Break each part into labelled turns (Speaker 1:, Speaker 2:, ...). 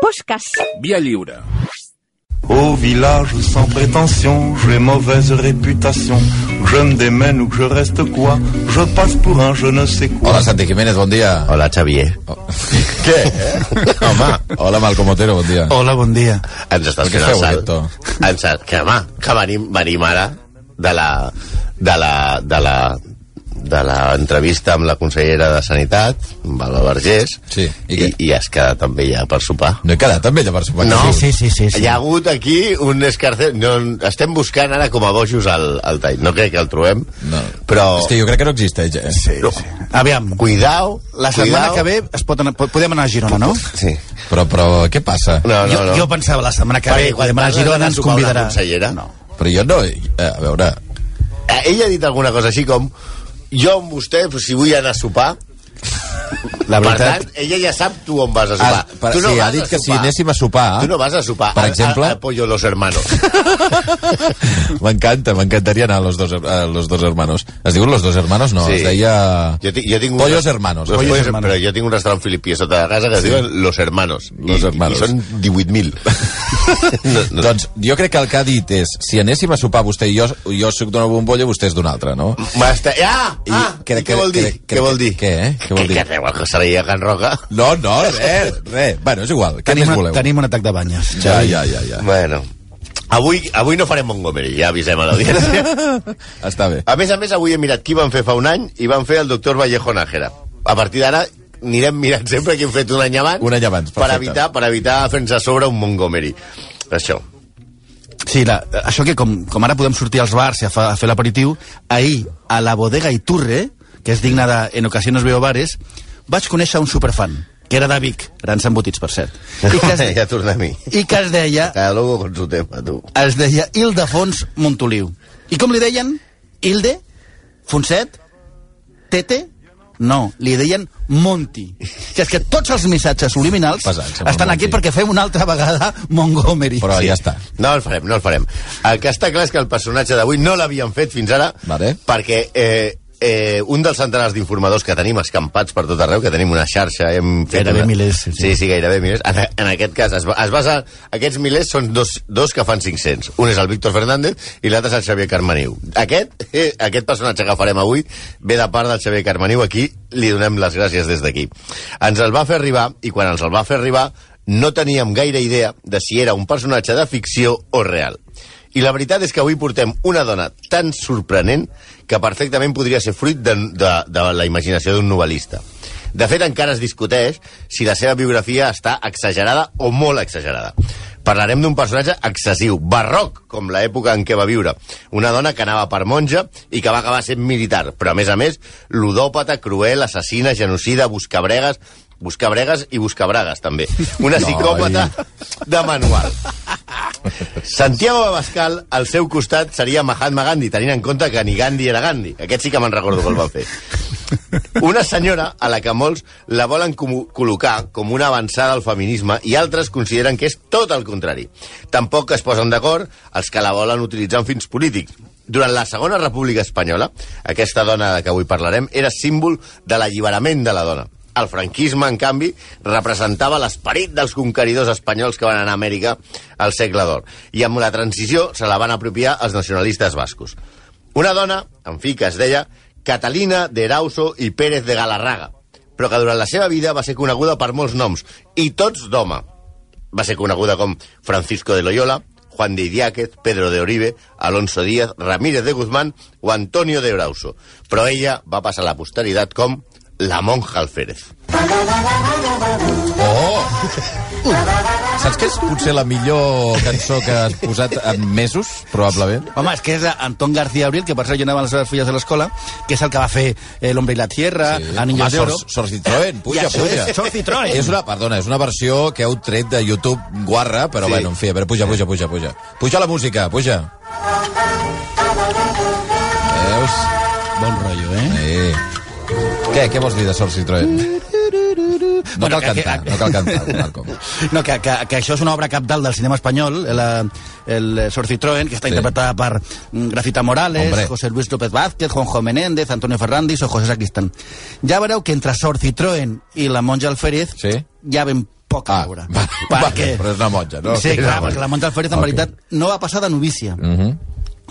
Speaker 1: Fosques.
Speaker 2: Via lliure.
Speaker 3: Au village sans prétention, j'ai mauvaise réputation. Que Je me démène ou que je reste quoi Je passe pour un je ne sais quoi.
Speaker 4: Hola, Santi Jiménez, bon dia.
Speaker 5: Hola, Xavier.
Speaker 4: Què? Home, hola, Malcom Otero, bon dia.
Speaker 6: Hola, bon dia.
Speaker 5: Ens estàs
Speaker 4: Per què
Speaker 5: fent
Speaker 4: feu
Speaker 5: el
Speaker 4: aquest
Speaker 5: salt.
Speaker 4: to?
Speaker 5: Ens, que, home, que venim, venim ara de la, de la, de la, de l'entrevista amb la consellera de Sanitat, Vala Vergés,
Speaker 4: Sí, i
Speaker 5: i,
Speaker 4: què?
Speaker 5: i has quedat també ja per sopar.
Speaker 4: No he quedat amb ella per sopar.
Speaker 5: No.
Speaker 6: Sí, sí, sí, sí.
Speaker 5: Hi ha hagut aquí un escarcer... No, estem buscant ara com a bojos al, al tall. No crec que el trobem,
Speaker 4: no.
Speaker 5: però...
Speaker 4: És que jo crec que no existeix, eh? Sí.
Speaker 5: No.
Speaker 6: Aviam,
Speaker 5: Cuidao,
Speaker 6: la setmana
Speaker 5: cuidao.
Speaker 6: que ve es pot anar, po- podem anar a Girona, no?
Speaker 5: Sí.
Speaker 4: Però, però, què passa?
Speaker 5: No, no,
Speaker 6: jo,
Speaker 5: no.
Speaker 6: jo pensava la setmana que
Speaker 5: Perquè
Speaker 6: ve,
Speaker 5: quan
Speaker 6: podem anar a
Speaker 5: parles d'anar
Speaker 6: Girona,
Speaker 5: a
Speaker 6: ens
Speaker 5: sopar una
Speaker 6: convidarà.
Speaker 5: consellera.
Speaker 6: No.
Speaker 4: Però jo no... eh, A veure...
Speaker 5: Eh, Ella ha dit alguna cosa així com jo amb vostè, però si vull anar a sopar
Speaker 4: La
Speaker 5: per tant, ella ja sap tu on vas a sopar
Speaker 4: Ah, per,
Speaker 5: tu no
Speaker 4: sí,
Speaker 5: vas
Speaker 4: ha dit
Speaker 5: a
Speaker 4: que si
Speaker 5: sopar.
Speaker 4: anéssim a sopar...
Speaker 5: tu no vas a sopar
Speaker 4: Per
Speaker 5: a-
Speaker 4: exemple?
Speaker 5: a, a Pollo Los Hermanos
Speaker 4: M'encanta, m'encantaria anar a los, dos, a los dos hermanos. Es diuen los dos hermanos? No,
Speaker 5: Sí.
Speaker 4: es Doncs deia...
Speaker 5: jo, ti- jo tinc un-
Speaker 4: Pollos hermanos.
Speaker 5: Los
Speaker 4: Pollos
Speaker 5: pollos
Speaker 4: hermanos.
Speaker 5: però jo tinc un restaurant filipí a sota de casa que es diuen Los Hermanos
Speaker 4: Los
Speaker 5: I,
Speaker 4: Hermanos.
Speaker 5: i són 18.000 no, no.
Speaker 4: Doncs jo crec que el que ha dit és si anéssim a sopar vostè i jo, jo sóc d'una bombolla i vostè és d'una altra, no?
Speaker 5: Basta. Ah, ah, I, què vol dir?
Speaker 4: crec-
Speaker 5: Què vol dir?
Speaker 4: Què, eh? Què vol dir?
Speaker 5: Que, que, que seria Can Roca?
Speaker 4: No, no, res, res. Bueno, és igual. Què
Speaker 6: Tenim,
Speaker 4: més
Speaker 6: una,
Speaker 4: voleu?
Speaker 6: tenim un atac de banyes.
Speaker 4: Ja, ja, ja, ja.
Speaker 5: Bueno. Avui, avui no farem Montgomery, ja avisem a l'audiència.
Speaker 4: Està bé.
Speaker 5: A més a més, avui he mirat qui van fer fa un any i van fer el doctor Vallejo Nájera. A partir d'ara anirem mirant sempre qui hem fet un any abans,
Speaker 4: Un any abans,
Speaker 5: per
Speaker 4: perfecte.
Speaker 5: evitar, per evitar fer-nos a sobre un Montgomery. Això.
Speaker 6: Sí, la, això que com, com ara podem sortir als bars i a, fa, a fer l'aperitiu, ahir, a la bodega Iturre, que és digna de En ocasiones veo bares, vaig conèixer un superfan, que era de Vic, grans embotits, per cert, i que es,
Speaker 5: ja torna a mi.
Speaker 6: i que es deia,
Speaker 5: Cada loco con su tema, tu.
Speaker 6: es deia Ildefons Montoliu. I com li deien? Hilde? Fonset? Tete? No, li deien Monti. Que és que tots els missatges subliminals
Speaker 4: Pesats, amb el
Speaker 6: estan aquí
Speaker 4: Monty.
Speaker 6: perquè fem una altra vegada Montgomery.
Speaker 4: Però ja està.
Speaker 5: No el farem, no el farem. El que està clar és que el personatge d'avui no l'havien fet fins ara
Speaker 4: Vale.
Speaker 5: perquè eh, eh, un dels centenars d'informadors que tenim escampats per tot arreu, que tenim una xarxa... Hem fet
Speaker 6: Gairebé
Speaker 5: una...
Speaker 6: milers, sí,
Speaker 5: Sí,
Speaker 6: sí.
Speaker 5: sí, sí gairebé milers. En, e, en aquest cas, es, ba- es basa... Aquests milers són dos, dos que fan 500. Un és el Víctor Fernández i l'altre és el Xavier Carmeniu. Aquest, eh, aquest personatge que farem avui ve de part del Xavier Carmeniu. Aquí li donem les gràcies des d'aquí. Ens el va fer arribar, i quan ens el va fer arribar no teníem gaire idea de si era un personatge de ficció o real. I la veritat és que avui portem una dona tan sorprenent que perfectament podria ser fruit de, de, de la imaginació d'un novel·lista. De fet, encara es discuteix si la seva biografia està exagerada o molt exagerada. Parlarem d'un personatge excessiu, barroc, com l'època en què va viure. Una dona que anava per monja i que va acabar sent militar, però, a més a més, ludòpata, cruel, assassina, genocida, buscabregues, buscabregues i buscabragues, també. Una psicòpata de manual. Santiago Abascal, al seu costat, seria Mahatma Gandhi, tenint en compte que ni Gandhi era Gandhi. Aquest sí que me'n recordo que el van fer. Una senyora a la que molts la volen com col·locar com una avançada al feminisme i altres consideren que és tot el contrari. Tampoc es posen d'acord els que la volen utilitzar en fins polítics. Durant la Segona República Espanyola, aquesta dona de que avui parlarem era símbol de l'alliberament de la dona. El franquisme, en canvi, representava l'esperit dels conqueridors espanyols que van anar a Amèrica al segle d'or. I amb la transició se la van apropiar els nacionalistes bascos. Una dona, en fi, que es deia Catalina de Erauso i Pérez de Galarraga, però que durant la seva vida va ser coneguda per molts noms, i tots d'home. Va ser coneguda com Francisco de Loyola, Juan de Idiáquez, Pedro de Oribe, Alonso Díaz, Ramírez de Guzmán o Antonio de Erauso. Però ella va passar a la posteritat com la monja Alférez.
Speaker 4: Oh! Saps que és potser la millor cançó que has posat en mesos, probablement?
Speaker 6: Home, és que és Anton García Abril, que per això jo anava amb les seves filles de l'escola, que és el que va fer eh, L'Hombre i la Tierra, sí. Anillos d'Oro...
Speaker 4: Sor, Sor Citroën, puja,
Speaker 6: I això
Speaker 4: puja.
Speaker 6: és Sor Citroën.
Speaker 4: És una, perdona, és una versió que heu tret de YouTube guarra, però
Speaker 5: Sí.
Speaker 4: sí. bueno, en fi, a veure, puja, puja, puja, puja. Puja la música, puja. Veus?
Speaker 6: Bon rotllo, eh?
Speaker 4: Sí. Què, què vols dir de Sor Citroën? No
Speaker 6: Bueno,
Speaker 4: cal
Speaker 6: que-
Speaker 4: cantar,
Speaker 6: que-
Speaker 4: no cal cantar, Marco.
Speaker 6: No, que, que, que això és una obra capdalt del cinema espanyol, el, el Sor Citroën, que està
Speaker 4: Sí.
Speaker 6: sí. interpretada per mm, Grafita Morales,
Speaker 4: Hombre.
Speaker 6: José Luis López Vázquez, Juanjo Menéndez, Antonio Fernández o José Sacristán. Ja veureu que entre Sor Citroën i la monja Alférez
Speaker 4: Sí.
Speaker 6: ja ben poc a
Speaker 4: Ah,
Speaker 6: veure.
Speaker 4: va- va, però és una monja, no?
Speaker 6: Sí,
Speaker 4: És una
Speaker 6: clar,
Speaker 4: monja.
Speaker 6: perquè la monja Alférez, en
Speaker 4: Ok.
Speaker 6: veritat, no va passar de novícia.
Speaker 4: Mm -hmm.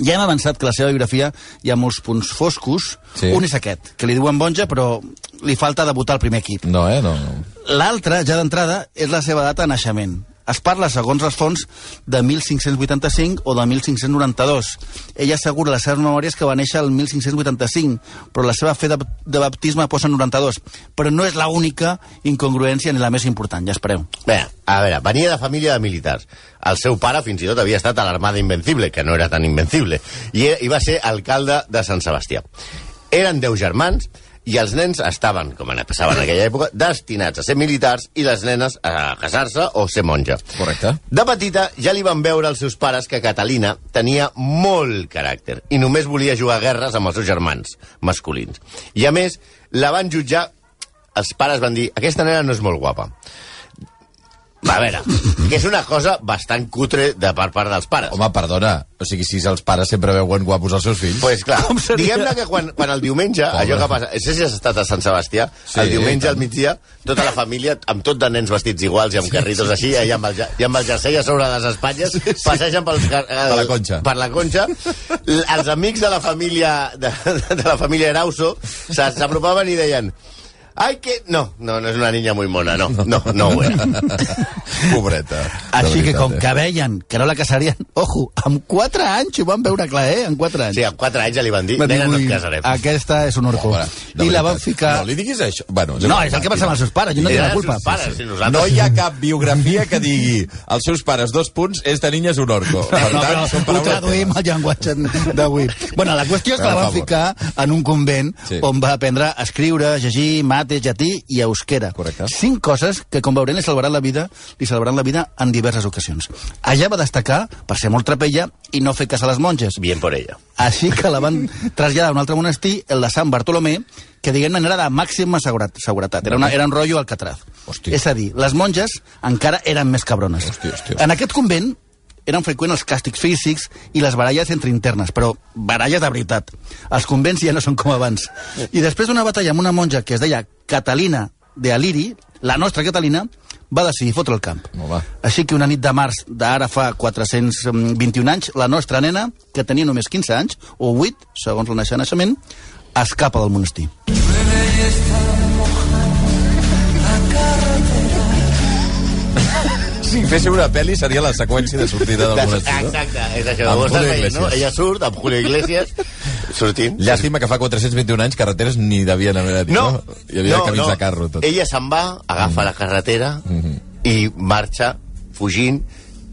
Speaker 6: Ja hem avançat que la seva biografia hi ha molts punts foscos.
Speaker 4: Sí.
Speaker 6: Un és aquest, que li diuen Bonja, però li falta debutar al primer equip.
Speaker 4: No, eh? No, no.
Speaker 6: L'altra, ja d'entrada, és la seva data de naixement. Es parla, segons les fonts, de 1585 o de 1592. Ella assegura a les seves memòries que va néixer el 1585, però la seva fe de, de baptisme posa 92. Però no és la única incongruència ni la més important, ja espereu.
Speaker 5: Bé, a veure, venia de família de militars. El seu pare fins i tot havia estat a l'Armada Invencible, que no era tan invencible, i, e- i va ser alcalde de Sant Sebastià. Eren deu germans, i els nens estaven, com en passava en aquella època, destinats a ser militars i les nenes a casar-se o ser monja.
Speaker 4: Correcte.
Speaker 5: De petita ja li van veure els seus pares que Catalina tenia molt caràcter i només volia jugar a guerres amb els seus germans masculins. I a més, la van jutjar... Els pares van dir, aquesta nena no és molt guapa. A veure, que és una cosa bastant cutre de per part dels pares.
Speaker 4: Home, perdona. O sigui, si els pares sempre veuen guapos els seus fills...
Speaker 5: Pues clar,
Speaker 6: Com seria?
Speaker 5: diguem-ne que quan, quan el diumenge,
Speaker 4: Pobre.
Speaker 5: Pobre. allò que passa... No sé si has estat a Sant Sebastià,
Speaker 4: Sí,
Speaker 5: sí, el diumenge
Speaker 4: tant.
Speaker 5: al migdia, tota la família, amb tot de nens vestits iguals i amb carritos així, eh, i amb el, ja- i amb el jersei a sobre de les espatlles, passegen pels, car- eh,
Speaker 4: Per la Conxa.
Speaker 5: Per la conxa. L- Els amics de la família, de, de la família Erauso s'ha- s'apropaven i deien... Ai, que... No, no, no és una niña muy mona, no. No, no ho era.
Speaker 4: Pobreta.
Speaker 6: Així
Speaker 4: De
Speaker 6: que,
Speaker 4: veritat,
Speaker 6: com
Speaker 4: eh?
Speaker 6: que veien que no la casarien, ojo, amb 4 anys ho van veure clar, eh? Amb 4 anys.
Speaker 5: Sí, amb 4 anys ja li van dir,
Speaker 6: Va dir,
Speaker 5: nena, no
Speaker 6: "Ui,
Speaker 5: et casarem.
Speaker 6: Aquesta és un orco.
Speaker 4: Pobre, de
Speaker 6: I la
Speaker 4: veritat.
Speaker 6: van ficar...
Speaker 4: No li diguis això. Bueno,
Speaker 6: No, és el que passa amb els seus pares, jo no
Speaker 5: I
Speaker 6: tinc
Speaker 5: eren
Speaker 6: la culpa.
Speaker 5: sus Pares, i nosaltres...
Speaker 4: No hi ha cap biografia que digui els seus pares, dos punts, esta niña és un orco. Per
Speaker 6: No,
Speaker 4: tant,
Speaker 6: però
Speaker 4: són
Speaker 6: ho
Speaker 4: paraules
Speaker 6: traduïm al llenguatge d'avui. Bueno, la qüestió és que
Speaker 4: Per
Speaker 6: la van
Speaker 4: favor.
Speaker 6: ficar en un convent
Speaker 4: Sí.
Speaker 6: on va aprendre a escriure, llegir, mate, llatí i euskera.
Speaker 4: Correcte.
Speaker 6: Cinc coses que, com veurem, li salvaran la vida li salvaran la vida en diverses ocasions. Allà va destacar per ser molt trapella i no fer cas a les monges.
Speaker 5: Bien por ella.
Speaker 6: Així que la van traslladar a un altre monestir, el de Sant Bartolomé, que diguem-ne era de màxima seguretat. seguretat. Era, una, era un rotllo alcatraz.
Speaker 4: Hòstia.
Speaker 6: És a dir, les monges encara eren més cabrones.
Speaker 4: Hòstia, hòstia.
Speaker 6: En aquest convent eren freqüents els càstigs físics i les baralles entre internes, però baralles de veritat. Els convents ja no són com abans. I després d'una batalla amb una monja que es deia Catalina de Aliri, la nostra Catalina, va decidir fotre el camp.
Speaker 4: Home.
Speaker 6: Així que una nit de març d'ara fa 421 anys, la nostra nena, que tenia només 15 anys, o 8, segons el naixer naixement, escapa del monestir.
Speaker 4: Si féssiu una pel·li seria la seqüència de sortida del monestir. no?
Speaker 5: Exacte, és això.
Speaker 4: Amb
Speaker 5: Ho estàs
Speaker 4: Julio
Speaker 5: veient, no?
Speaker 4: Iglesias.
Speaker 5: Ella surt amb Julio Iglesias, sortint.
Speaker 4: Llàstima que fa 421 anys carreteres ni devien haver dit, no? Hi havia camins de carro, tot. Mm-hmm.
Speaker 5: Ella se'n va, agafa la carretera i marxa fugint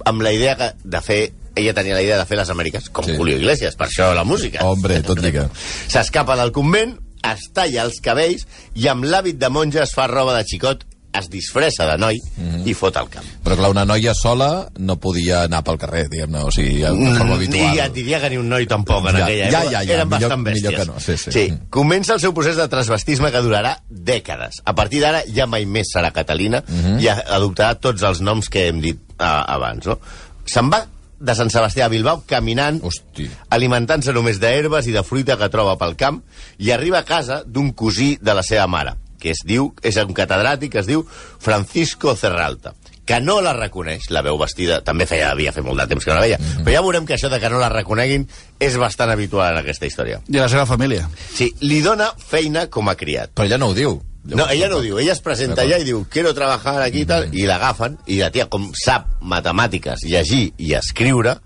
Speaker 5: amb la idea que de fer ella tenia la idea de fer les Amèriques, com
Speaker 4: Sí.
Speaker 5: Julio Iglesias, per això la música.
Speaker 4: Hombre, tot lliga.
Speaker 5: S'escapa del convent, es talla els cabells i amb l'hàbit de monja es fa roba de xicot, es disfressa de noi
Speaker 4: Mm-hmm.
Speaker 5: i fot al camp.
Speaker 4: Però clar, una noia sola no podia anar pel carrer, diguem-ne, o sigui, de
Speaker 6: Mm,
Speaker 4: forma habitual.
Speaker 5: I ja et Mm, diria que ni un noi tampoc en
Speaker 4: Ja,
Speaker 5: aquella
Speaker 4: ja, ja,
Speaker 5: època.
Speaker 4: ja,
Speaker 5: Eren
Speaker 4: millor-
Speaker 5: bastant bèsties.
Speaker 4: millor que no, sí, sí. Mm.
Speaker 5: Comença el seu procés de transvestisme que durarà dècades. A partir d'ara ja mai més serà Catalina
Speaker 4: Mhm.
Speaker 5: i a- adoptarà tots els noms que hem dit uh, abans. No? Se'n va de Sant Sebastià a Bilbao caminant,
Speaker 4: Hosti.
Speaker 5: alimentant-se només d'herbes i de fruita que troba pel camp i arriba a casa d'un cosí de la seva mare que es diu, és un catedràtic que es diu Francisco Cerralta que no la reconeix, la veu vestida també feia, havia fet molt de temps que no la veia mm -hmm. però ja veurem que això de que no la reconeguin és bastant habitual en aquesta història
Speaker 6: I la seva família.
Speaker 5: sí, li dona feina com a criat
Speaker 4: Però ella no Mm-hmm. ho diu.
Speaker 5: no, ella no ho diu, ella es presenta allà i diu quiero trabajar aquí i tal, i l'agafen i la tia com sap matemàtiques llegir i escriure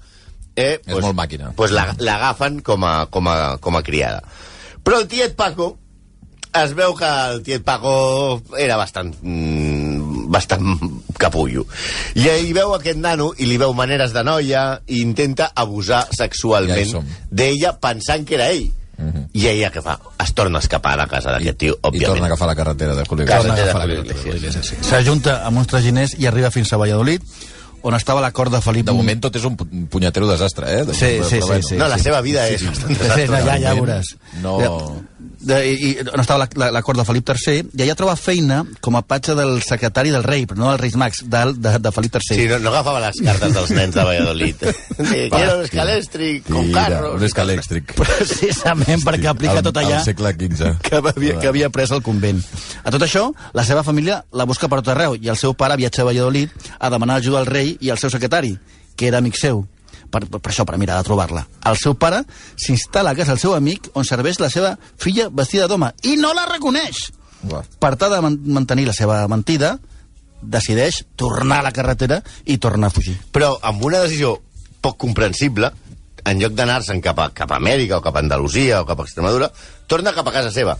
Speaker 5: eh,
Speaker 4: És molt màquina. Mm-hmm.
Speaker 5: Pues la- l'agafen com, a, com, a, com a criada però el tiet Paco es veu que el tiet Paco era bastant mm, bastant capullo i hi veu aquest nano i li veu maneres de noia i intenta abusar
Speaker 4: Ja hi
Speaker 5: sexualment
Speaker 4: som. Mm-hmm.
Speaker 5: d'ella pensant que era ell i ella què fa? Es torna a escapar de casa d'aquest tio,
Speaker 4: I
Speaker 5: òbviament.
Speaker 4: torna a agafar la carretera de Julio
Speaker 5: Casa
Speaker 4: Iglesias.
Speaker 5: de
Speaker 4: Torna a
Speaker 5: Julio
Speaker 4: agafar la
Speaker 5: Iglesias.
Speaker 4: carretera de Julio
Speaker 6: S'ajunta amb uns traginers i arriba fins a Valladolid, on estava la cort de Felip...
Speaker 4: De moment tot és un pu- punyetero desastre, eh? De-
Speaker 6: Sí, sí,
Speaker 4: però
Speaker 6: sí,
Speaker 4: bueno.
Speaker 6: sí.
Speaker 5: No, la seva vida és bastant
Speaker 6: Sí, Eh, no, ja, ja
Speaker 4: Naturalment,
Speaker 6: veuràs.
Speaker 4: no.
Speaker 6: Ja, de, i, i- on estava la, la, la cort de Felip III, i allà troba feina com a patxa del secretari del rei, però no del Reis Mags, del, de, de Felip III.
Speaker 5: Sí, no, no agafava les cartes dels nens de Valladolid. Deia, Quiero un escalèstric, con
Speaker 4: Un
Speaker 5: carros...
Speaker 4: escalèstric.
Speaker 6: Precisament perquè aplica
Speaker 4: Al-
Speaker 6: tot allà
Speaker 4: Al segle XV.
Speaker 6: que havia, que havia pres al convent. A tot això, la seva família la busca per tot arreu i el seu pare viatja a Valladolid a demanar ajuda al rei i al seu secretari, que era amic seu, per, per això, per mirar de trobar-la. El seu pare s'instal·la a casa del seu amic on serveix la seva filla vestida d'home i no la reconeix.
Speaker 4: Uah.
Speaker 6: Per tal de man- mantenir la seva mentida, decideix tornar a la carretera i tornar a fugir.
Speaker 5: Però amb una decisió poc comprensible, en lloc d'anar-se'n cap, a, cap a Amèrica o cap a Andalusia o cap a Extremadura, torna cap a casa seva.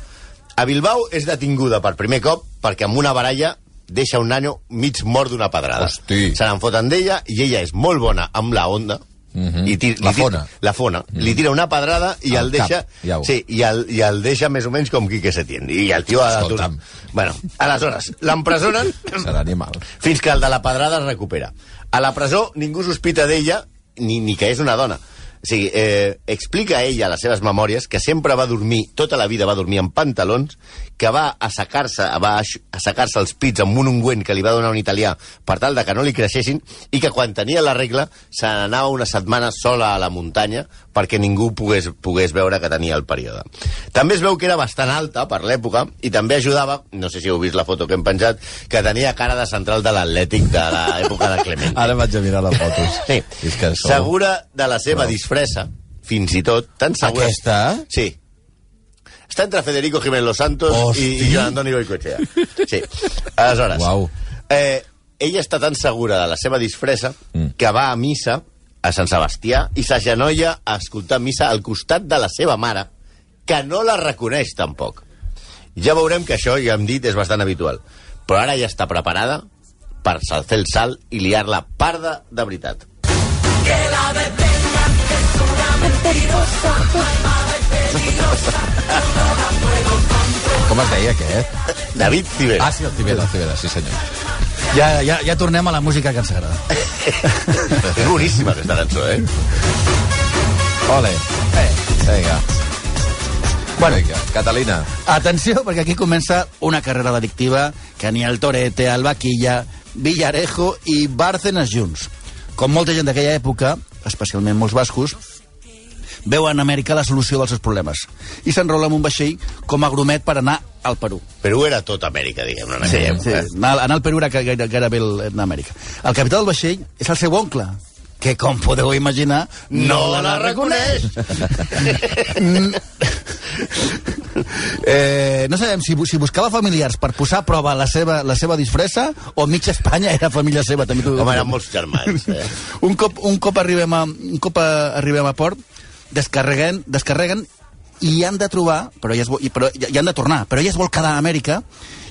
Speaker 5: A Bilbao és detinguda per primer cop perquè amb una baralla deixa un nano mig mort d'una pedrada.
Speaker 4: Hosti.
Speaker 5: Se n'enfoten d'ella i ella és molt bona amb la onda,
Speaker 4: Mhm.
Speaker 5: i tir,
Speaker 4: La
Speaker 5: li tira-
Speaker 4: fona. Mhm.
Speaker 5: La fona. Li tira una pedrada i
Speaker 4: Al
Speaker 5: el deixa...
Speaker 4: cap, iau.
Speaker 5: sí, i el, i el deixa més o menys com Quique Setién. I el tio ha de tornar.
Speaker 4: Escolta'm.
Speaker 5: Bueno, aleshores, l'empresonen
Speaker 4: Serà animal.
Speaker 5: fins que el de la pedrada es recupera. A la presó ningú sospita d'ella ni, ni que és una dona. O sigui, eh, explica ella a les seves memòries que sempre va dormir, tota la vida va dormir en pantalons, que va assecar-se va aix- assecar-se els pits amb un ungüent que li va donar un italià per tal de que no li creixessin i que quan tenia la regla se n'anava una setmana sola a la muntanya perquè ningú pogués, pogués veure que tenia el període. També es veu que era bastant alta per l'època i també ajudava, no sé si heu vist la foto que hem penjat, que tenia cara de central de l'Atlètic de l'època de Clemente.
Speaker 4: Ara vaig a mirar les fotos.
Speaker 5: Sí.
Speaker 4: És que sou-
Speaker 5: Segura de la seva disfressa, fins i tot, tan segura...
Speaker 4: Aquesta?
Speaker 5: Sí. Està entre Federico Jiménez Los Santos
Speaker 4: Hosti.
Speaker 5: i, i Joan Antoni Goicoechea. Sí. Aleshores,
Speaker 4: Uau.
Speaker 5: eh, ella està tan segura de la seva disfressa mm. que va a missa a Sant Sebastià i s'agenolla a escoltar missa al costat de la seva mare, que no la reconeix tampoc. Ja veurem que això, ja hem dit, és bastant habitual. Però ara ja està preparada per sal- fer el salt i liar-la parda de veritat.
Speaker 4: Com es deia aquest?
Speaker 5: David Civera.
Speaker 4: Ah, sí, el Tibera, el Tibera, sí senyor.
Speaker 6: Ja, ja, ja tornem a la música que ens agrada.
Speaker 5: és boníssima aquesta cançó, eh?
Speaker 4: Ole. Eh. Vinga. Bueno. Vinga, Catalina.
Speaker 6: Atenció, perquè aquí comença una carrera delictiva que ni el Torete, el Vaquilla, Villarejo i Bárcenas junts. Com molta gent d'aquella època, especialment molts bascos, veuen a Amèrica la solució dels seus problemes i s'enrola en un vaixell com a grumet per anar al Perú.
Speaker 5: Perú era tot Amèrica, diguem-ne, en aquella
Speaker 6: Sí,
Speaker 5: època.
Speaker 6: anar, anar eh? al Perú era gaire- gairebé el- en Amèrica. El capità del vaixell és el seu oncle, que, com podeu imaginar,
Speaker 5: No la reconeix!
Speaker 6: Eh, no sabem si, bu- si buscava familiars per posar a prova la seva, la seva disfressa o mitja Espanya era família seva. També t'ho-
Speaker 5: Home, eren molts germans, eh?
Speaker 6: un, cop, un, cop arribem a, un cop a, arribem a port, descarreguen, descarreguen i han de trobar, però ja, es vol, i, però, ja, ja han de tornar, però ja es vol quedar a Amèrica,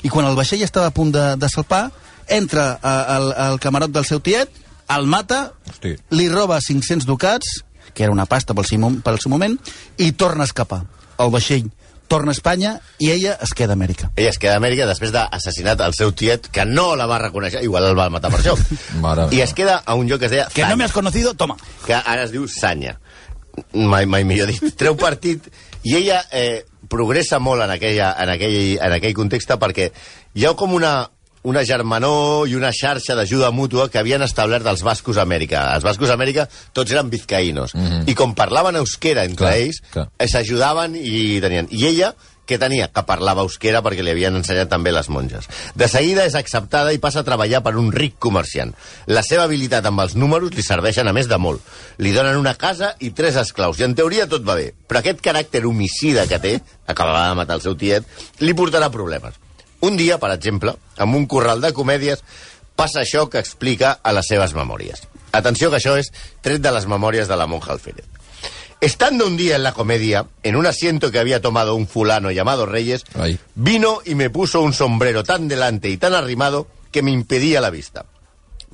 Speaker 6: i quan el vaixell estava a punt de, de salpar, entra a, al, al camarot del seu tiet, el mata,
Speaker 4: Hosti.
Speaker 6: li roba 500 ducats, que era una pasta pel seu, mom- pel seu moment, i torna a escapar. El vaixell torna a Espanya i ella es queda a Amèrica.
Speaker 5: Ella es queda a Amèrica després d'assassinat al seu tiet, que no la va reconèixer, igual el va matar per això.
Speaker 4: Mare
Speaker 5: I
Speaker 4: meva.
Speaker 5: es queda a un lloc que es deia
Speaker 6: Que no
Speaker 5: Zanya,
Speaker 6: me has conocido, toma.
Speaker 5: que ara es diu Sanya. Mai, mai millor dit. Treu partit i ella eh, progressa molt en, aquella, en, aquell, en aquell context perquè hi ha com una, una germanor i una xarxa d'ajuda mútua que havien establert els bascos a Amèrica. Els bascos a Amèrica tots eren vizcaïnos. Mm -hmm. I com parlaven euskera entre
Speaker 4: Mhm. Clar,
Speaker 5: ells,
Speaker 4: clar.
Speaker 5: eh, s'ajudaven i tenien... I ella, que tenia? Que parlava euskera perquè li havien ensenyat també les monges. De seguida és acceptada i passa a treballar per un ric comerciant. La seva habilitat amb els números li serveixen a més de molt. Li donen una casa i tres esclaus, i en teoria tot va bé. Però aquest caràcter homicida que té, acabava de matar el seu tiet, li portarà problemes. Un dia, per exemple, amb un corral de comèdies, passa això que explica a les seves memòries. Atenció, que això és tret de les memòries de la monja Alférez. Estando un día en la comedia, en un asiento que había tomado un fulano llamado Reyes,
Speaker 4: Ay.
Speaker 5: vino y me puso un sombrero tan delante y tan arrimado que me impedía la vista.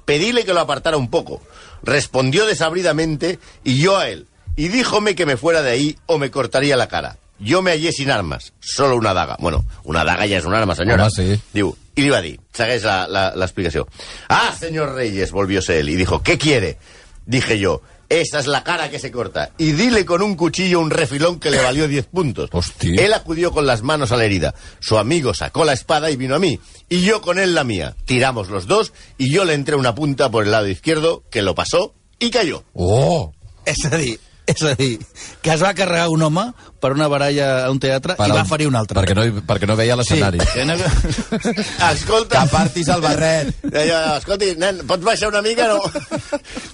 Speaker 5: Pedíle que lo apartara un poco. Respondió desabridamente y yo a él. Y díjome que me fuera de ahí o me cortaría la cara. Yo me hallé sin armas, solo una daga. Bueno, una daga ya es un arma, señora.
Speaker 4: Home, sí.
Speaker 5: Diu, y le iba a decir, ¿sabes la, la- la explicación? Ah, señor Reyes, volvióse él y dijo, ¿qué quiere? Dije yo, Esa es la cara que se corta. Y dile con un cuchillo un refilón que le valió 10 puntos.
Speaker 4: Hostia.
Speaker 5: Él acudió con las manos a la herida. Su amigo sacó la espada y vino a mí. Y yo con él la mía. Tiramos los dos y yo le entré una punta por el lado izquierdo que lo pasó y cayó.
Speaker 4: Oh!
Speaker 6: És a dir, és a dir, que es va carregar un home per una baralla a un teatre i
Speaker 4: Para-
Speaker 6: va ferir un altre.
Speaker 4: Perquè no, perquè no veia l'escenari. Sí.
Speaker 6: Que no...
Speaker 5: Escolta...
Speaker 4: Que partis el barret.
Speaker 5: Allò, escolti, nen, pots baixar una mica? No.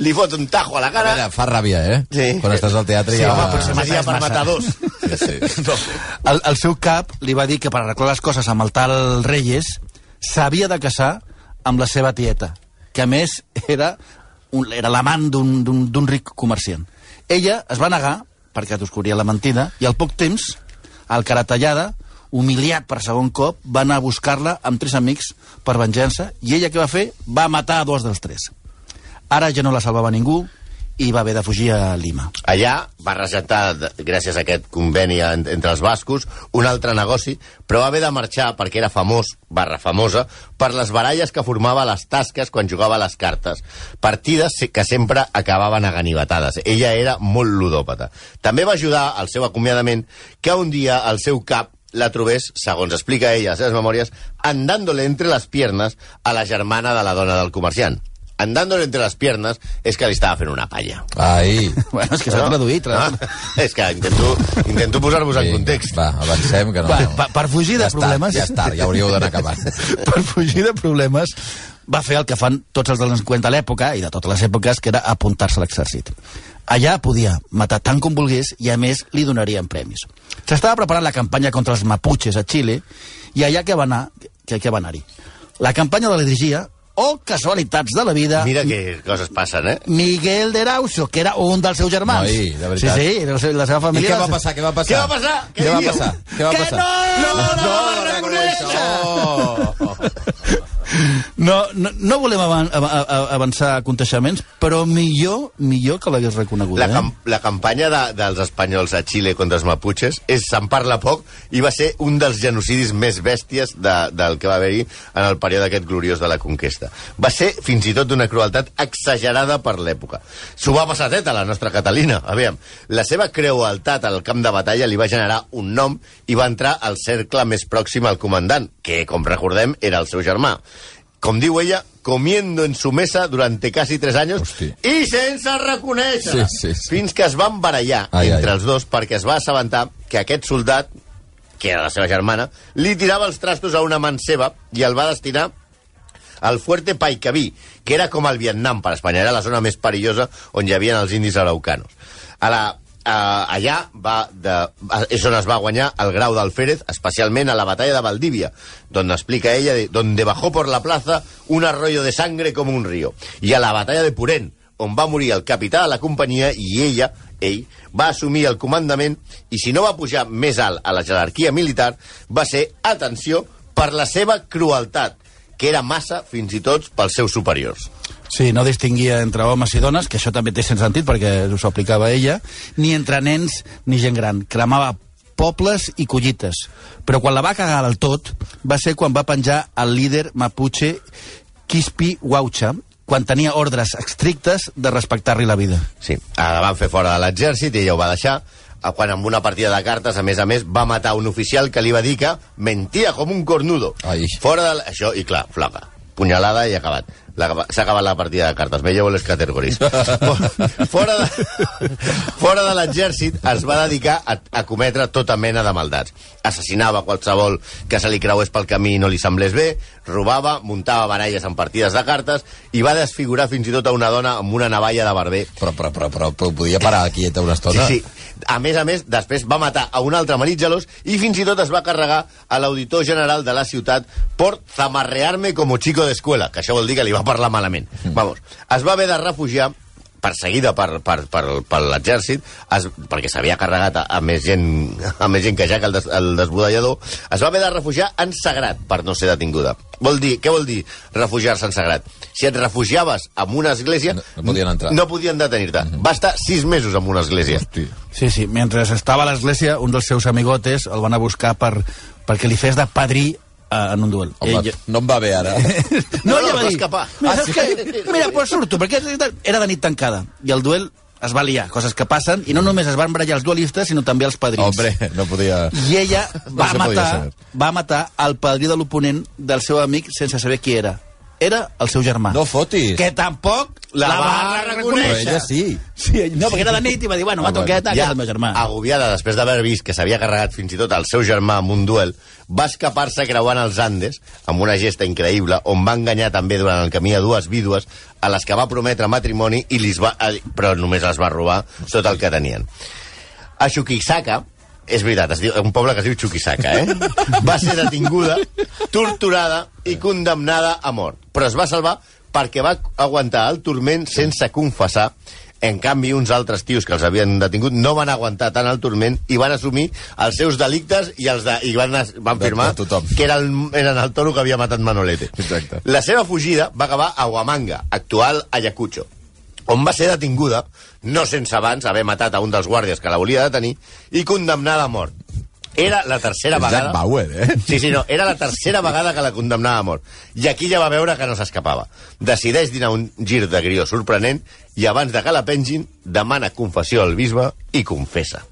Speaker 5: Li fot un tajo a la
Speaker 4: A
Speaker 5: cara.
Speaker 4: veure, fa ràbia, eh?
Speaker 5: Sí.
Speaker 4: Quan estàs al teatre
Speaker 5: Sí,
Speaker 4: ja...
Speaker 5: home, potser més ja per
Speaker 6: massa.
Speaker 5: matar dos.
Speaker 4: Sí, sí.
Speaker 6: El, el seu cap li va dir que per arreglar les coses amb el tal Reyes s'havia de casar amb la seva tieta, que a més era, un, era l'amant d'un- d'un d'un ric comerciant. Ella es va negar perquè descobria la mentida i al poc temps, al Caratallada, humiliat per segon cop, va anar a buscar-la amb tres amics per venjança i ella què va fer? Va matar a dos dels tres. Ara ja no la salvava ningú i va haver de fugir a Lima.
Speaker 5: Allà va regentar, d- gràcies a aquest conveni en- entre els bascos, un altre negoci, però va haver de marxar perquè era famós, barra famosa, per les baralles que formava a les tasques quan jugava a les cartes. Partides se- que sempre acabaven a ganivetades. Ella era molt ludòpata. També va ajudar al seu acomiadament que un dia el seu cap la trobés, segons explica ella a les seves memòries, andándole entre les piernas a la germana de la dona del comerciant. Andándole entre les piernas és que li estava fent una palla.
Speaker 4: Ai.
Speaker 6: Bueno, és que s'ha traduït.
Speaker 5: Ah, és que intento, intento posar-vos en
Speaker 4: Vinga,
Speaker 5: context.
Speaker 4: Va, avancem, que no...
Speaker 6: Va, per, per fugir de
Speaker 4: ja Està,
Speaker 6: problemes...
Speaker 4: ja està, ja hauríeu d'anar acabant.
Speaker 6: per fugir de problemes va fer el que fan tots els delinqüents de l'època i de totes les èpoques, que era apuntar-se a l'exèrcit. Allà podia matar tant com volgués i, a més, li donarien premis. S'estava preparant la campanya contra els maputxes a Xile i allà que va anar, que, que va anar-hi. La campanya de la dirigia, o oh, casualitats de la vida,
Speaker 5: Mira que coses passen, eh?
Speaker 6: Miguel de Rauso, que era un dels seus germans.
Speaker 4: Noi, de veritat.
Speaker 6: Sí, sí, era el seu- la seva
Speaker 4: I
Speaker 6: família.
Speaker 4: què va passar, què va passar?
Speaker 5: Què va passar?
Speaker 4: Què va passar? Què va
Speaker 6: Que
Speaker 4: passar?
Speaker 6: no! No, no,
Speaker 5: no, no,
Speaker 4: no, no,
Speaker 6: No, no, no volem avan, av- av- avançar aconteixements, però millor millor que l'hagués reconegut.
Speaker 5: La,
Speaker 6: eh?
Speaker 5: cam la campanya de, dels espanyols a Xile contra els maputxes és se'n parla poc i va ser un dels genocidis més bèsties de, del que va haver-hi en el període aquest gloriós de la conquesta. Va ser fins i tot d'una crueltat exagerada per l'època. S'ho va passar teta la nostra Catalina. Aviam, la seva creualtat al camp de batalla li va generar un nom i va entrar al cercle més pròxim al comandant, que, com recordem, era el seu germà. Com diu ella, comiendo en su mesa durante casi tres años
Speaker 4: Hosti.
Speaker 5: i sense
Speaker 4: Sí,
Speaker 5: reconèixer
Speaker 4: sí, sí.
Speaker 5: fins que es van barallar
Speaker 4: Ai,
Speaker 5: ai, entre
Speaker 4: ai.
Speaker 5: ai. els dos perquè es va assabentar que aquest soldat, que era la seva germana, li tirava els trastos a una man seva i el va destinar al fuerte Paikaví, que era com el Vietnam per Espanya, era la zona més perillosa on hi havia els indis araucanos. A la, a, allà va de, a- és on es va guanyar el grau d'Alférez, especialment a la batalla de Valdivia, on explica ella de, donde bajó por la plaza un arroyo de sangre como un río, i a la batalla de Purén, on va morir el capità de la companyia i ella, ell, va assumir el comandament i si no va pujar més alt a la jerarquia militar, va ser, atenció, per la seva crueltat, que era massa fins i tot pels seus superiors.
Speaker 6: Sí, no distinguia entre homes i dones, que això també té sense sentit perquè us ho aplicava ella, ni entre nens ni gent gran. Cremava pobles i collites. Però quan la va cagar del tot va ser quan va penjar el líder maputxe Quispi Huaucha, quan tenia ordres estrictes de respectar-li la vida.
Speaker 5: Sí, la van fer fora de l'exèrcit i ella ho va deixar a quan amb una partida de cartes, a més a més, va matar un oficial que li va dir que mentia com un cornudo.
Speaker 4: Ai.
Speaker 5: Fora de... la- Això, i clar, flaca. Punyalada i acabat. La- S'ha acabat la partida de cartes. Me llevo les categories. For- fora de, fora de l'exèrcit es va dedicar a, a cometre tota mena de maldats. Assassinava qualsevol que se li creués pel camí i no li semblés bé, robava, muntava baralles en partides de cartes i va desfigurar fins i tot a una dona amb una navalla de barber
Speaker 4: Però, però, però, però, però podia parar quieta una
Speaker 5: Sí,
Speaker 4: estona?
Speaker 5: sí. A més a més, després va matar a un altre marit gelós i fins i tot es va carregar a l'auditor general de la ciutat per zamarrear-me como chico d'escuela, que això vol dir que li va parlar malament. Mm. Vamos, es va haver de refugiar perseguida per, per, per, per l'exèrcit es- perquè s'havia carregat a, a, més gent, a més gent que ja que el, des, el desbudellador es va haver de refugiar en sagrat per no ser detinguda. Vol dir, què vol dir refugiar-se en sagrat? Si et refugiaves en una església
Speaker 4: No- no podien entrar.
Speaker 5: no podien detenir-te.
Speaker 6: Mhm.
Speaker 5: Va estar sis mesos en una església.
Speaker 4: Hosti.
Speaker 6: Sí, sí, mentre estava a l'església, un dels seus amigotes el van a buscar per, perquè li fes de padrí eh, en un duel.
Speaker 4: Home,
Speaker 6: Ell-
Speaker 4: no em va bé ara.
Speaker 5: No, no,
Speaker 6: ella va
Speaker 5: va
Speaker 6: dir,
Speaker 5: escapar.
Speaker 6: Mira,
Speaker 5: Ah,
Speaker 6: saps
Speaker 5: sí?
Speaker 6: què? Mira, pues surto, perquè era de nit tancada. I el duel es va liar, coses que passen, i no només es van barallar els dualistes, sinó també els padrins.
Speaker 4: Hombre, no podia...
Speaker 6: I ella
Speaker 4: No
Speaker 6: va,
Speaker 4: se
Speaker 6: no
Speaker 4: podia
Speaker 6: matar,
Speaker 4: saber.
Speaker 6: va matar el padrí de l'oponent del seu amic sense saber qui era. Era el seu germà.
Speaker 4: No fotis.
Speaker 6: Que tampoc la, la va reconèixer.
Speaker 4: Però ella sí.
Speaker 6: Sí, no, perquè era de nit i va dir, bueno,
Speaker 4: Ah,
Speaker 6: mato,
Speaker 4: bueno.
Speaker 6: queda't a casa el meu germà.
Speaker 5: agobiada després d'haver vist que s'havia carregat fins i tot el seu germà amb un duel, va escapar-se creuant els Andes amb una gesta increïble on va enganyar també durant el camí a dues vídues a les que va prometre matrimoni i lis va, eh, però només les va robar tot el que tenien. A Shukisaka, és veritat, es diu, un poble que es diu Chukisaka, eh? Va ser detinguda, torturada i condemnada a mort. Però es va salvar perquè va aguantar el torment sense confessar. En canvi, uns altres tios que els havien detingut no van aguantar tant el torment i van assumir els seus delictes i, els de, i van, as- van
Speaker 4: De-
Speaker 5: firmar
Speaker 4: de tothom.
Speaker 5: que era el, eren el toro que havia matat Manolete.
Speaker 4: Exacte.
Speaker 5: La seva fugida va acabar a Huamanga, actual Ayacucho, on va ser detinguda, no sense abans haver matat a un dels guàrdies que la volia detenir, i condemnada a mort. Era la tercera vegada...
Speaker 4: Jack Bauer, eh?
Speaker 5: Sí, sí, no, era la tercera vegada que la condemnava a mort. I aquí ja va veure que no s'escapava. Decideix dinar un gir de grió sorprenent i abans de que la pengin, demana confessió al bisbe i confessa.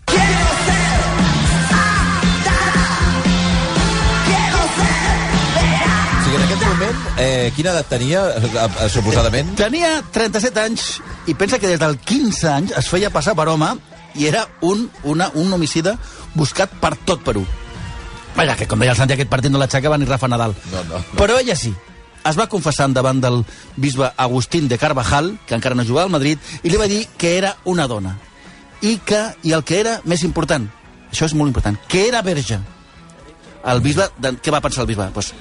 Speaker 4: O sigui, en aquest moment, eh, quina edat tenia, eh, eh, suposadament?
Speaker 6: Tenia 37 anys i pensa que des del 15 anys es feia passar per home i era un, una, un homicida buscat per tot Perú. Vaja, que com deia el Santi, aquest partit no l'aixecava ni Rafa Nadal.
Speaker 4: No, no, no.
Speaker 6: Però ella sí. Es va confessar davant del bisbe Agustín de Carvajal, que encara no jugava al Madrid, i li va dir que era una dona. I, que, I el que era més important, això és molt important, que era verge. El bisbe, de, què va pensar el bisbe? Pues,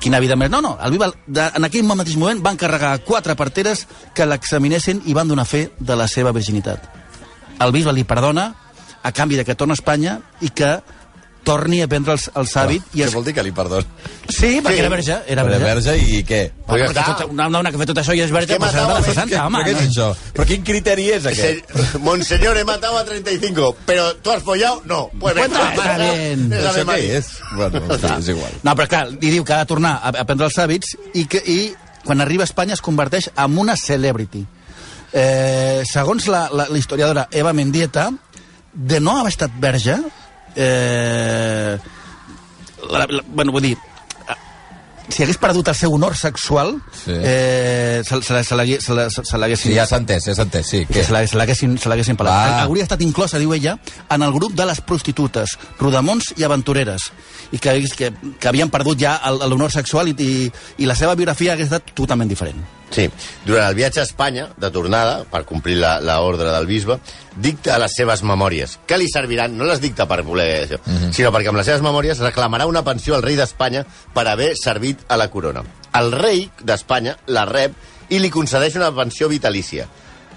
Speaker 6: quina vida més... No, no, el bisbe, de, en aquell mateix moment, van carregar quatre parteres que l'examinessin i van donar fe de la seva virginitat. El bisbe li perdona a canvi de que torna a Espanya i que torni a prendre els, els hàbits i
Speaker 4: Què
Speaker 6: es...
Speaker 4: vol dir que li perdona?
Speaker 6: Sí, perquè
Speaker 5: Ah, Sí.
Speaker 6: era verge, era
Speaker 4: Era
Speaker 6: verge.
Speaker 4: verge i què?
Speaker 5: Però ja
Speaker 6: Perquè
Speaker 5: està.
Speaker 6: tot, una dona que fa tot això i és verge,
Speaker 5: Què
Speaker 6: pues serà de
Speaker 5: matava,
Speaker 6: la
Speaker 5: eh?
Speaker 4: Què-
Speaker 6: santa, home.
Speaker 4: Ah, Però què és això? Però quin criteri és
Speaker 5: Se-
Speaker 4: aquest?
Speaker 5: Monseñor, he matado a 35, pero ¿tú has follado? No. Pues
Speaker 6: Cuenta, está bien.
Speaker 5: Esa
Speaker 4: Això
Speaker 5: me
Speaker 4: què
Speaker 5: mato.
Speaker 4: és? Bueno, en fi, és igual.
Speaker 6: No, però clar, li diu que ha de tornar a, a prendre els hàbits i, que, i quan arriba a Espanya es converteix en una celebrity. Eh, segons la, la, la historiadora Eva Mendieta, de no haver estat verge, eh, la, la, bueno, vull dir, si hagués perdut el seu honor sexual,
Speaker 4: Sí.
Speaker 6: sí. eh, se, se, la- se l'hagués- se la- se- se l'haguessin...
Speaker 4: Sí, ja s'ha entès, ja s'ha entès, sí.
Speaker 6: que
Speaker 4: Què?
Speaker 6: se l'hagués- se l'haguessin se l'haguessin pelat.
Speaker 4: Ah.
Speaker 6: Ah. Hauria estat inclosa, diu ella, en el grup de les prostitutes, rodamons i aventureres, i que, que, que havien perdut ja el- l'honor sexual i, i, i la seva biografia hagués estat totalment diferent.
Speaker 5: Sí. Durant el viatge a Espanya, de tornada, per complir la, la ordre del bisbe, dicta les seves memòries, que li serviran, no les dicta per voler això, sinó perquè amb les seves memòries reclamarà una pensió al rei d'Espanya per haver servit a la corona. El rei d'Espanya la rep i li concedeix una pensió vitalícia.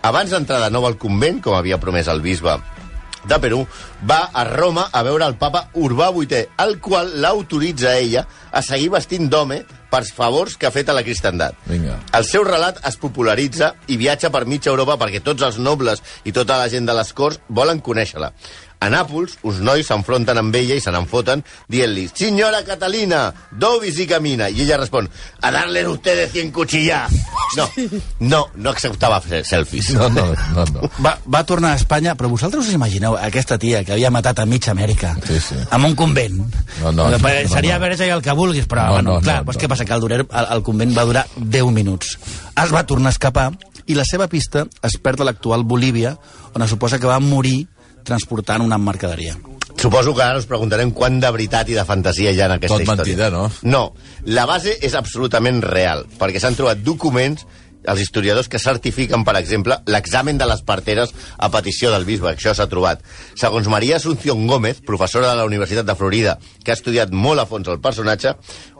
Speaker 5: Abans d'entrar de nou al convent, com havia promès el bisbe de Perú, va a Roma a veure el papa Urbà VIII, el qual l'autoritza a ella a seguir vestint d'home pels favors que ha fet a la cristandat.
Speaker 4: Vinga.
Speaker 5: El seu relat es popularitza i viatja per mitja Europa perquè tots els nobles i tota la gent de les Corts volen conèixer-la. A Nàpols, uns nois s'enfronten amb ella i se n'enfoten dient-li «Senyora Catalina, dovis i camina». I ella respon «A darle ustedes 100 cuchillas». No, no, no acceptava fer selfies.
Speaker 4: No, no, no, no.
Speaker 6: Va, va tornar a Espanya, però vosaltres us imagineu aquesta tia que havia matat a mitja Amèrica,
Speaker 4: Sí, sí.
Speaker 6: amb un convent?
Speaker 4: No, no, no,
Speaker 6: Eh, Seria
Speaker 4: no, no.
Speaker 6: verge i el que vulguis, però,
Speaker 4: No,
Speaker 6: no, bueno,
Speaker 4: no,
Speaker 6: no,
Speaker 4: no,
Speaker 6: clar,
Speaker 4: no.
Speaker 6: no, doncs què passa? Que el, durer, el, el convent va durar 10 minuts. Es va tornar a escapar i la seva pista es perd a l'actual Bolívia, on es suposa que va morir transportant una mercaderia.
Speaker 5: Suposo que ara us preguntarem quant de veritat i de fantasia hi ha en aquesta
Speaker 4: Tot
Speaker 5: història.
Speaker 4: mentida, no?
Speaker 5: No, la base és absolutament real, perquè s'han trobat documents els historiadors que certifiquen, per exemple, l'examen de les parteres a petició del bisbe. Això s'ha trobat. Segons Maria Asunción Gómez, professora de la Universitat de Florida, que ha estudiat molt a fons el personatge,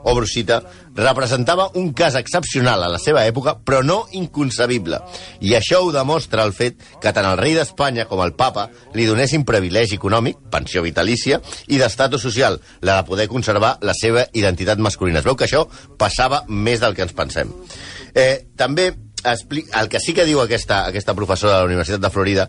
Speaker 5: obro cita, representava un cas excepcional a la seva època, però no inconcebible. I això ho demostra el fet que tant el rei d'Espanya com el papa li donessin privilegi econòmic, pensió vitalícia, i d'estatus social, la de poder conservar la seva identitat masculina. Es veu que això passava més del que ens pensem. Eh, també expli- el que sí que diu aquesta, aquesta professora de la Universitat de Florida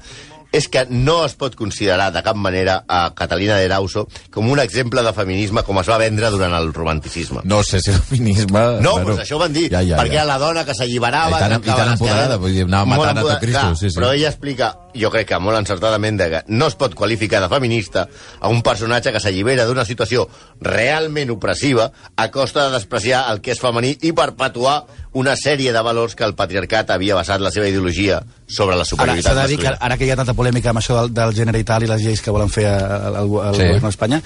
Speaker 5: és que no es pot considerar de cap manera a Catalina de Arauso com un exemple de feminisme com es va vendre durant el romanticisme.
Speaker 4: No sé si el feminisme...
Speaker 5: No, bueno, doncs això ho van dir, ja, ja, perquè ja. la dona que s'alliberava...
Speaker 4: I tan-
Speaker 5: que
Speaker 4: i tan
Speaker 5: anava a les
Speaker 4: empoderada,
Speaker 5: cadenes,
Speaker 4: vull dir, anava
Speaker 5: molt
Speaker 4: matant a tot
Speaker 5: empoderada.
Speaker 4: Cristo,
Speaker 5: Clar,
Speaker 4: sí, sí.
Speaker 5: Però ella explica, jo crec que molt encertadament, de que no es pot qualificar de feminista a un personatge que s'allibera d'una situació realment opressiva a costa de despreciar el que és femení i perpetuar una sèrie de valors que el patriarcat havia basat la seva ideologia sobre la
Speaker 6: Ara, s'ha
Speaker 5: superioritat
Speaker 6: de dir que, ara que hi ha tanta polèmica amb això del, del gènere i tal i les lleis que volen fer al, al, al
Speaker 4: Sí.
Speaker 6: sí. govern d'Espanya,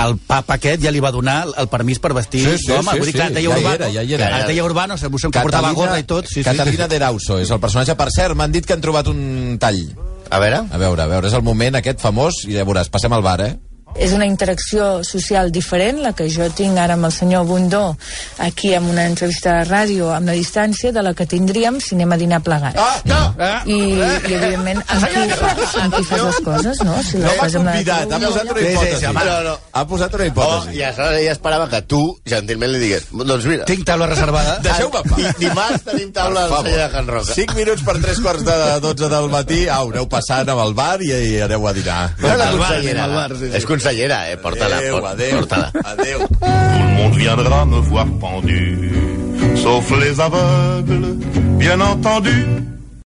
Speaker 6: el papa aquest ja li va donar el permís per vestir
Speaker 4: Sí, sí,
Speaker 6: d'home.
Speaker 4: sí,
Speaker 6: Vull dir,
Speaker 4: sí.
Speaker 6: clar, es
Speaker 4: Ja
Speaker 6: deia
Speaker 4: hi
Speaker 6: Urbano,
Speaker 4: era, ja hi era.
Speaker 6: es deia Urbano, se, se portava gorra i tot. Sí,
Speaker 4: Catalina
Speaker 6: sí.
Speaker 4: de Rauso és el personatge. Per cert, m'han dit que han trobat un tall.
Speaker 5: A veure...
Speaker 4: A veure, a veure, és el moment aquest famós, i ja veuràs, passem al bar, eh?
Speaker 1: És una interacció social diferent, la que jo tinc ara amb el senyor Bundó, aquí amb una entrevista de ràdio, amb la distància de la que tindríem si anem a dinar plegats.
Speaker 6: Ah, no!
Speaker 4: eh?
Speaker 6: Ah,
Speaker 1: I, i evidentment, amb qui, fas, amb qui fas les coses, no? Si
Speaker 4: No
Speaker 1: les
Speaker 4: m'ha
Speaker 1: fas amb la-
Speaker 4: convidat, ha posat una
Speaker 6: Sí, sí, sí,
Speaker 4: hipòtesi.
Speaker 6: home,
Speaker 5: no, no.
Speaker 4: Ha posat una
Speaker 5: Oh,
Speaker 4: hipòtesi.
Speaker 5: I aleshores ella esperava que tu, gentilment, li digués... Doncs mira...
Speaker 6: Tinc taula reservada.
Speaker 4: Deixeu-me en pau.
Speaker 5: I dimarts tenim taula al celler de Can Roca.
Speaker 4: 5 minuts per 3 quarts de 12 del matí. Au, aneu passant amb el bar i, i aneu a dinar.
Speaker 5: Però la
Speaker 6: Al bar,
Speaker 5: consellera,
Speaker 6: anem al bar, sí, sí.
Speaker 5: és consellera, eh? Porta-la,
Speaker 4: Adéu, adéu,
Speaker 5: porta-la.
Speaker 4: adéu.
Speaker 3: Tout le monde viendra me voir pendu, sauf les aveugles, bien entendu.